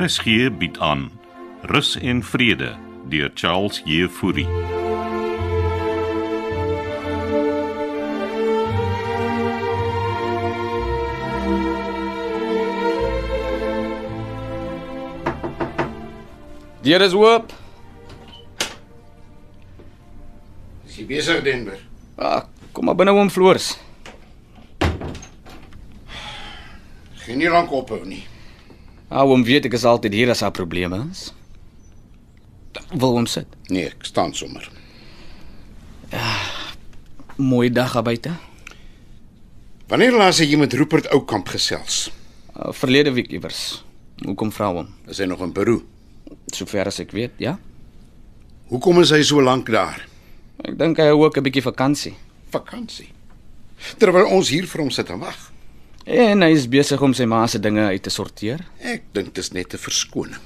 RSG bied aan Rus en Vrede deur Charles Jefouri. Deur is oop. Is jy besig Denver? Ah, kom maar binne oom Floors. Geen nie lank ophou nie. Ah, oom weet ek is altyd hier as daar probleme is. Wil oom sit. Nee, ek staan sommer. Mooi dag daar buite. Wanneer laas het jy met Rupert Oukamp gesels? Ah, verlede week iewers. Hoekom vra hom? Is hy nog in Peru? Sover as ek weet, ja. Hoekom is hy so lank daar? Ek dink hy hou ook 'n bietjie vakansie. Vakansie. Terwyl ons hier vir hom sit en wag. En hy is besig om sy ma se dinge uit te sorteer. Ek dink dis net 'n verskoning.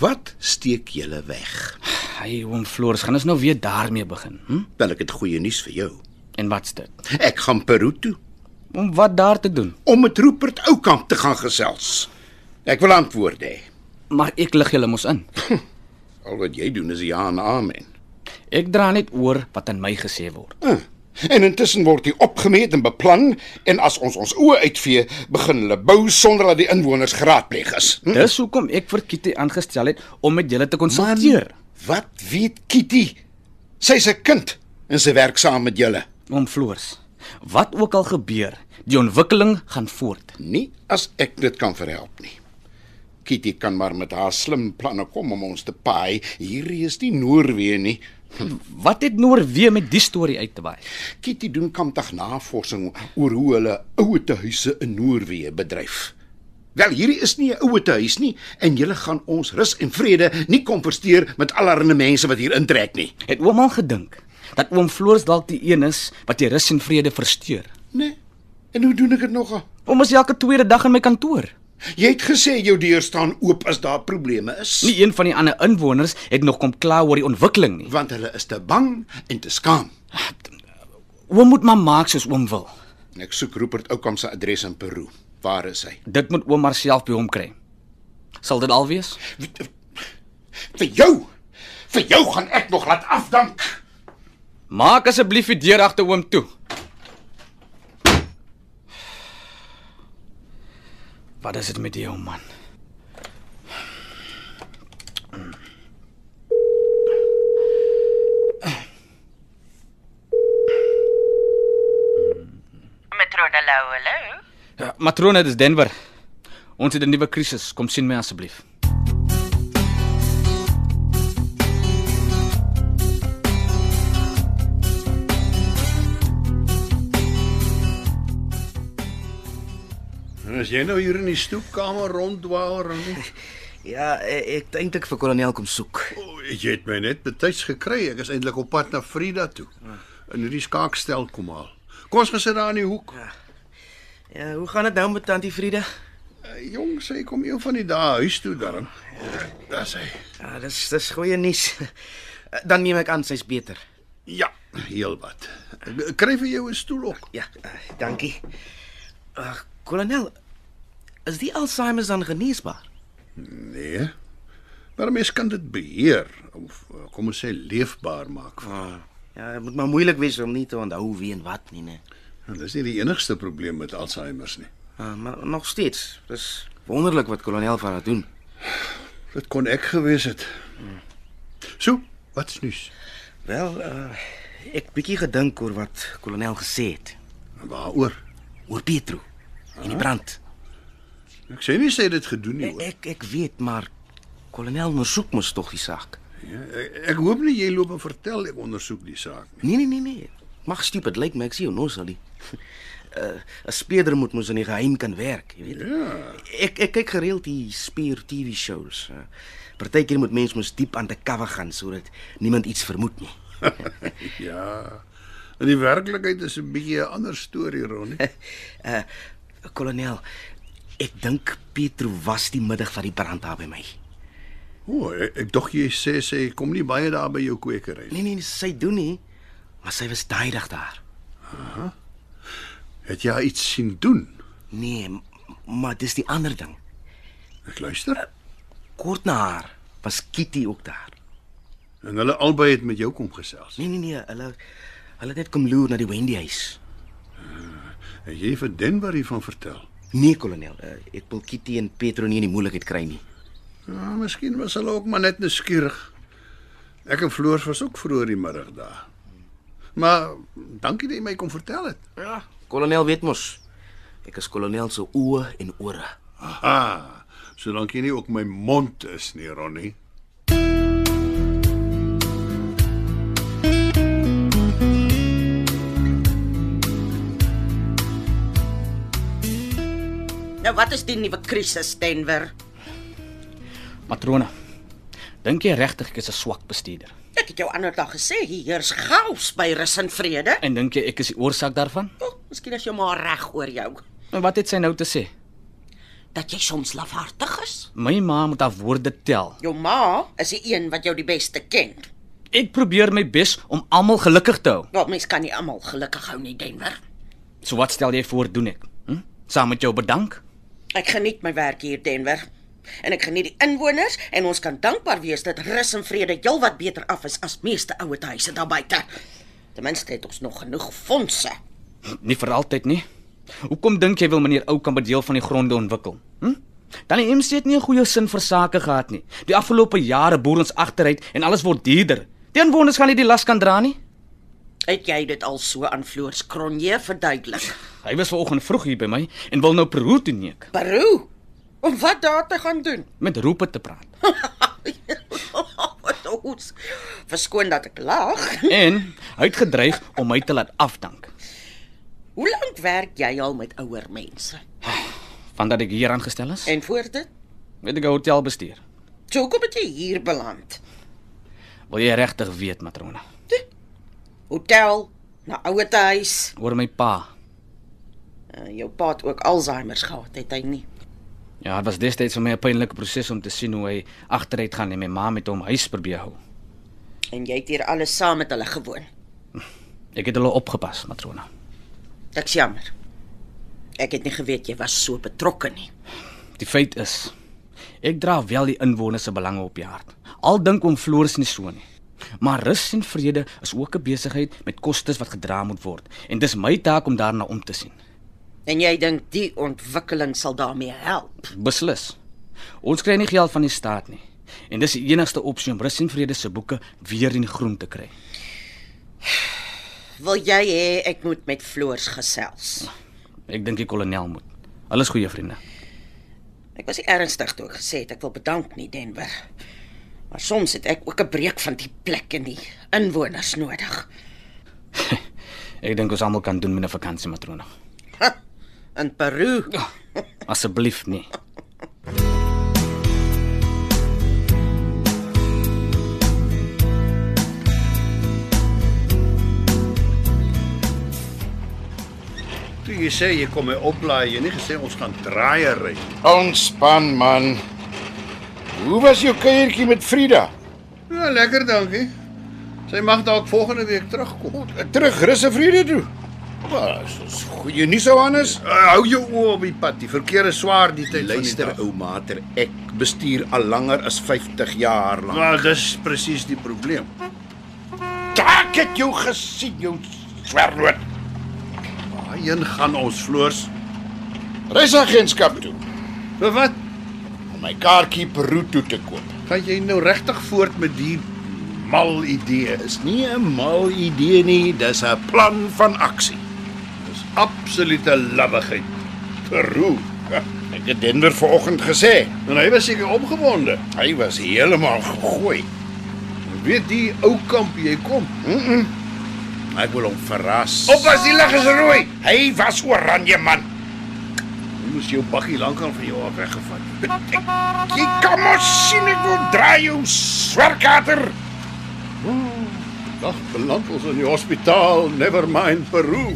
Wat steek julle weg? Hy oom Floors gaan ons nou weer daarmee begin, hm? Wel ek het goeie nuus vir jou. En wat's dit? Ek gaan Peru toe Om wat daar te doen? om met Rupert Oukamp te gaan gesels. Ek wil antwoorde hê. Maar ek lig julle mos in. Al wat jy doen is ja en amen. Ek dra net oor wat aan my gesê word. Ah, En intussen word die opgemeet en beplan en as ons ons oë uitvee, begin hulle bou sonder dat die inwoners geraadpleeg is. Hm? Dis hoekom ek vir Kitty aangestel het om met julle te konsulteer. Wat weet Kitty? Sy's 'n kind en sy werk saam met julle. Oom Floors, wat ook al gebeur, die ontwikkeling gaan voort. Nie as ek dit kan verhelp nie. Kitty kan maar met haar slim planne kom om ons te paai. Hierdie is nie Noorwe nie. Wat het Noorwe met die storie uit te waai? Kitty doen kampdag navorsing oor hoe hulle ouetehuise in Noorwe bedryf. Wel, hierdie is nie 'n ouetehuis nie en julle gaan ons rus en vrede nie kom versteur met allerlei mense wat hier intrek nie. Het oom al gedink dat oom Floors dalk die een is wat die rus en vrede versteur? Nee. En hoe doen ek dit nogal? Oom is elke tweede dag in my kantoor. Jy het gesê jou deur staan oop as daar probleme is. Nee. Nie een van die ander inwoners het nog kom kla oor die ontwikkeling nie. want hulle is te bang en te skaam. Oom moet maar maak soos oom wil. En ek soek Rupert Oukamp se adres in Peru. Waar is hy? Dit moet oom maar self by hom kry. Sal dit al wees? Vir jou. Vir jou gaan ek nog laat afdank. Maak asseblief die deur agter oom toe. Wat is dit met jou man? Matrona Lou, hallo. Ja, Matrone, dis Denver. Ons het 'n nuwe krisis. Kom sien my asseblief. As jy nou hier in die stoepkamer ronddwaal en nie, Ja, e- ek het eintlik vir kolonel kom soek. o, jy het my net betyds gekry. Ek is eintlik op pad na Frida toe. En hierdie skaakstel kom al. Kom ons gaan sit daar in die hoek. Ja, hoe gaan dit nou met tannie Frieda? Eh, Jong, sy kom een van die dae huis toe darm. Daar sê. Ja, dis dis goeie nuus. Dan neem ek aan sy's beter. Ja, heelwat. Ek Kry vir jou 'n stoel ook. Ja, eh, dankie. Ag, kolonel, is die Alzheimer dan geneesbaar? Nee. Maar 'n mens kan dit beheer of eh, kom ons sê leefbaar maak. Ja, dit moet maar moeilik wees om nie te onthou wie en wat nie, né? En Nou, dis nie die enigste probleem met Alzheimer's nie. Ah, maar nog steeds. Dis wonderlik wat kolonel van haar doen. Dit kon ek gewees het. Ja. So, wat's nuus? Wel, uh, ek bietjie gedink oor wat kolonel gesê het Waaroor? oor Pietro en die brand. Ek sê nie sy het dit gedoen nie. Nee, Ek hoor. Eh, ek, ek weet, maar kolonel ondersoek mos tog die saak. Ja, ek, ek hoop nie jy loop en vertel ek ondersoek die saak nie. Nee nee nee nee. Mag stupid lyk my ek sien jou nou sal nie. Uh, 'n Speerder moet mos in die geheim kan werk, jy weet. Ja, Ek ek kyk gereeld die speer TV shows. Uh, Partykeer moet mens mos diep aan die kawwe gaan sodat niemand iets vermoed nie. ja. In die werklikheid is 'n bietjie 'n ander storie Ronnie. Uh kolonel, ek dink Pietro was die middag van die brand daar by my. O, ek, ek dog jy sê sy kom nie baie daar by jou kwekery nie. Nee nee, nee, sy doen nie, maar sy was daai dag daar. Het jy haar iets sien doen? Nee, m- maar dis die ander ding. Ek luister. Kort na haar was Kitty ook daar. En hulle albei het met jou kom gesels. Nee nee nee, hulle hulle het net kom loer na die Wendy huis. En jy het vir Denver hiervan vertel. Nee, kolonel, eh, ek wil Kitty en Petro nie in die moeilikheid kry nie. Ja, miskien was hulle ook maar net nuuskierig. Ek en Floors was ook vroeër die middag daar. Maar dankie dat jy my kom vertel het. Ja, kolonel weet mos. Ek is kolonel se oë en ore. Ah. Aha. Ah, Solank jy nie ook my mond is nie, Ronnie. Nou wat is die nuwe krisis Denver? Matrone. Dink jy regtig ek is 'n swak bestuurder? Ek het jou ander dag gesê hier heers chaos by rus en vrede. En dink jy ek is die oorsaak daarvan? Oh, miskien is jou ma reg oor jou En wat het sy nou te sê? dat jy soms lafhartig is. My ma moet haar woorde tel. Jou ma is die een wat jou die beste ken. Ek probeer my bes om almal gelukkig te hou. Want mens kan nie almal gelukkig hou nie Denver. So wat stel jy voor doen ek? Hm? Saam met jou bedank. Ek geniet my werk hier Denver. En ek geniet die inwoners en ons kan dankbaar wees dat rus en vrede heelwat beter af is as meeste ouete huise daar buite. Ten minste het ons nog genoeg fondse. Nie vir altyd nie. Hoekom dink jy wil meneer Ou kan bedeel van die gronde ontwikkel? Hm? Dan die MC het nie 'n goeie sin vir sake gehad nie. Die afgelope jare boer ons agteruit en alles word duurder. Die inwoners gaan nie die las kan dra nie. Het jy dit al so aan Floors Kronje verduidelik? Hy was vanoggend vroeg hier by my en wil nou Peru toe neek Peru. Om wat daar te gaan doen? met roepe te praat. Ons verskoon dat ek lag. En hy het gedreig om my te laat afdank Hoe lank werk jy al met ouer mense? vandat ek hier aangestel is. En voor dit, Het ek 'n hotel bestuur. so hoekom het jy hier beland? Wil jy regtig weet, matrone, Hotel, na ouete huis. oor my pa? Uh, jou pa het ook Alzheimer gehad, het hy nie? Ja, dit was destyds vir my 'n pynlike proses om te sien hoe hy agteruit gaan en my ma met hom huis probeer hou. En jy het hier alles saam met hulle gewoon. Ek het hulle opgepas, matrona. Dit's jammer. Ek het nie geweet jy was so betrokke nie. Die feit is, ek dra wel die inwoners se belange op die hart. Al dink om floors nie so nie. Maar rus en vrede is ook 'n besigheid met kostes wat gedra moet word en dis my taak om daarna om te sien. En jy dink die ontwikkeling sal daarmee help. Beslis. Ons kry nie geld van die staat nie en dis die enigste opsie om rus en vrede se boeke weer in die groen te kry. Wil jy hê ek moet met Floors gesels? Ek dink die kolonel moet. Hulle is goeie vriende. Ek was nie ernstig toe ek gesê het ek wil bedank nie Denver. Maar soms het ek ook 'n breek van die plek en die inwoners nodig. Ek dink ons almal kan doen met 'n vakansie, matrona. Ja. Ha, in Peru. Asseblief nie. Toe jy sê jy kom my oplaai, jy het nie gesê ons gaan draai ry. nie. Ontspan man. Hoe was jou kuiertjie met Frida? Ja, lekker dankie. Sy mag dalk volgende week terugkom. Oh, Terug rus en vrede toe. Was is goeie nuus so anders. Uh, hou jou oë op die pad. Die verkeer is swaar die tyd Luister van die dag. ou mater, ek bestuur al langer as 50 jaar lank. Maar dis presies die probleem. Ek het jou gesien, jou swerloot. Waarheen gaan ons floors? Reisagentskap toe Vir wat? om my kaartjie Peru toe te koop. Gaan jy nou regtig voort met die mal idee? Dis nie 'n mal idee nie, dis 'n plan van aksie. Dis absolute labbigheid. Peru. Ek het Denver vanoggend gesê. En hy was seker opgewonde. Hy was heeltemal gegooi. Weet die ou kamp jy kom. Ek wil hom verras. Oppas, die lig is rooi. Hy was oranje man. Jy moes jou bakkie lankal van jou af weggevat. Jy kan mos sien ek wil draai jou swerkater. Dag, beland ons in die hospitaal. Never mind Peru.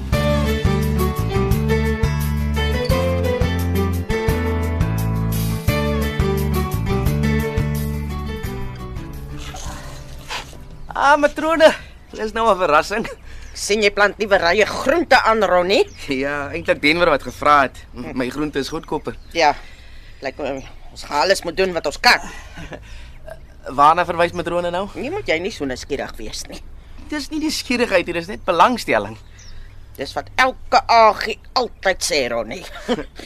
Ah, matrone, dis nou 'n verrassing. sien jy plant nuwe rye groente aan Ronnie? Ja, eintlik Denver wat gevra het. My groente is goedkoper. Ja. Lyk my Ons gaan alles moet doen wat ons kan. Waarna verwys matrone nou? Nie moet jy nie so nuuskierig wees nie. Dis nie nuuskierigheid hier, dis net belangstelling. Dis wat elke agie altyd sê, Ronnie.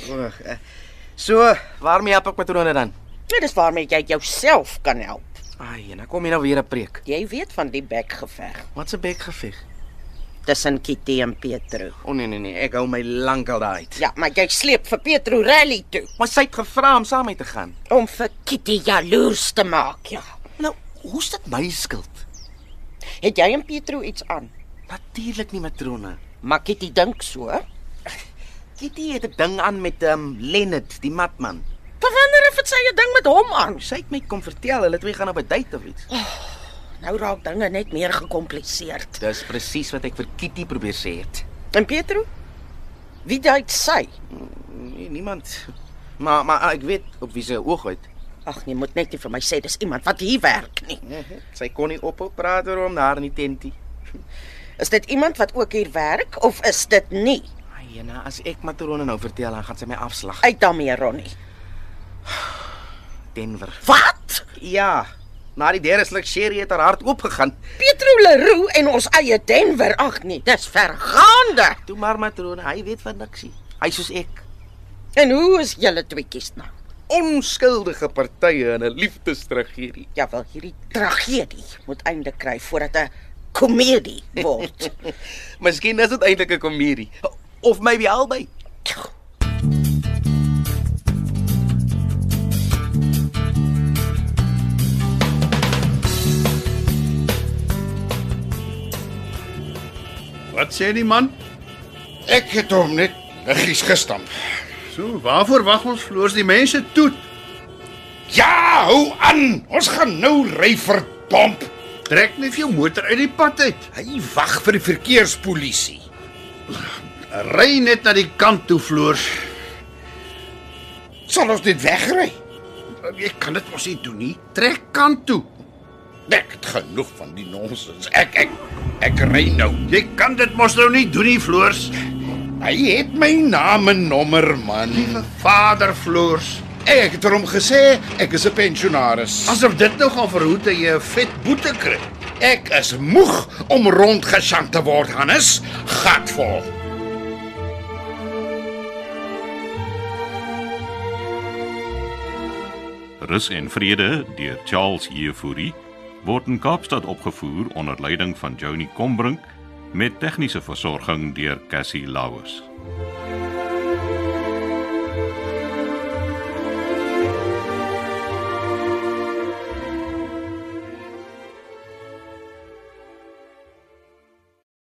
Oeg. eh, So, waarmee help ek matrone dan? Dit is Ja, waarmee jy jouself kan help. Ai, en dan kom jy nou weer 'n preek. Jy weet van die bekgeveg Wat 'n bek geveg. tussen Kitty en Petro. O oh, nee nee nee, ek hou my lankal daai uit. Ja, maar jy sleep vir Petro rally toe Maar sy het gevra om saam met te gaan. om vir Kitty jaloers te maak, ja. Nou, hoe's dit my skuld? Het jy en Petro iets aan? Natuurlik nie matrone. Maar Kitty dink so. hè? Kitty het 'n ding aan met ehm um, Lennard, die matman. Van wanneer af het sy 'n ding met hom aan? Sy het my kom vertel hulle twee gaan op 'n date of iets. Nou raak dinge net meer gekompliseerd. Dis presies wat ek vir Kitty probeer sê het. En Petro? Wie dink sy? Nee, niemand. Maar maar ah, ek weet op wie sy oog het. Ag, jy moet net nie vir my sê dis iemand wat hier werk nie. Ja, Sy kon nie ophou praat oor hom daar in die tentie. Is dit iemand wat ook hier werk of is dit nie? Ai, en eh, as ek Matrone nou vertel, dan gaan sy my afslag. Uit daarmee, Ronnie. Denver. Wat? Ja. Na die derde sluk sherry het haar hart oopgegaan. Petro Leroux en ons eie Denver. Ag nee, dis vergaande. Toe maar Matrone, hy weet van niksie. Hy soos ek. En hoe is julle tweeetjies nou? Onskuldige partye in 'n liefdestragedie. Ja wel, hierdie tragedie moet einde kry voordat 'n komedie word. Miskien is dit eintlik 'n komedie. Of maybe albei. Wat sê die man? Ek het hom net liggies gestamp. So, waarvoor wag ons floors die mense toe? Ja, hou aan. Ons gaan nou ry verdomp. Trek net jou motor uit die pad uit. Hy wag vir die verkeerspolisie. Ry net na die kant toe floors. Sal ons dit wegry? Jy kan dit mos nie doen nie. Trek kant toe. Ek het genoeg van die nonsens. Ek ek ek ry nou. Jy kan dit mos nou nie doen nie floors. Hy het my naam en nommer, man. Vader floors. Ek het hom gesê ek is 'n pensionaris. As Asof dit nou gaan verhoed dat jy 'n vet boete kry. ek is moeg om rondgesjank te word, Hannes. Gatvol. Rus en Vrede deur Charles Jefouri word in Kaapstad opgevoer onder leiding van Johnny Combrink met tegniese versorging deur Cassie Lauers.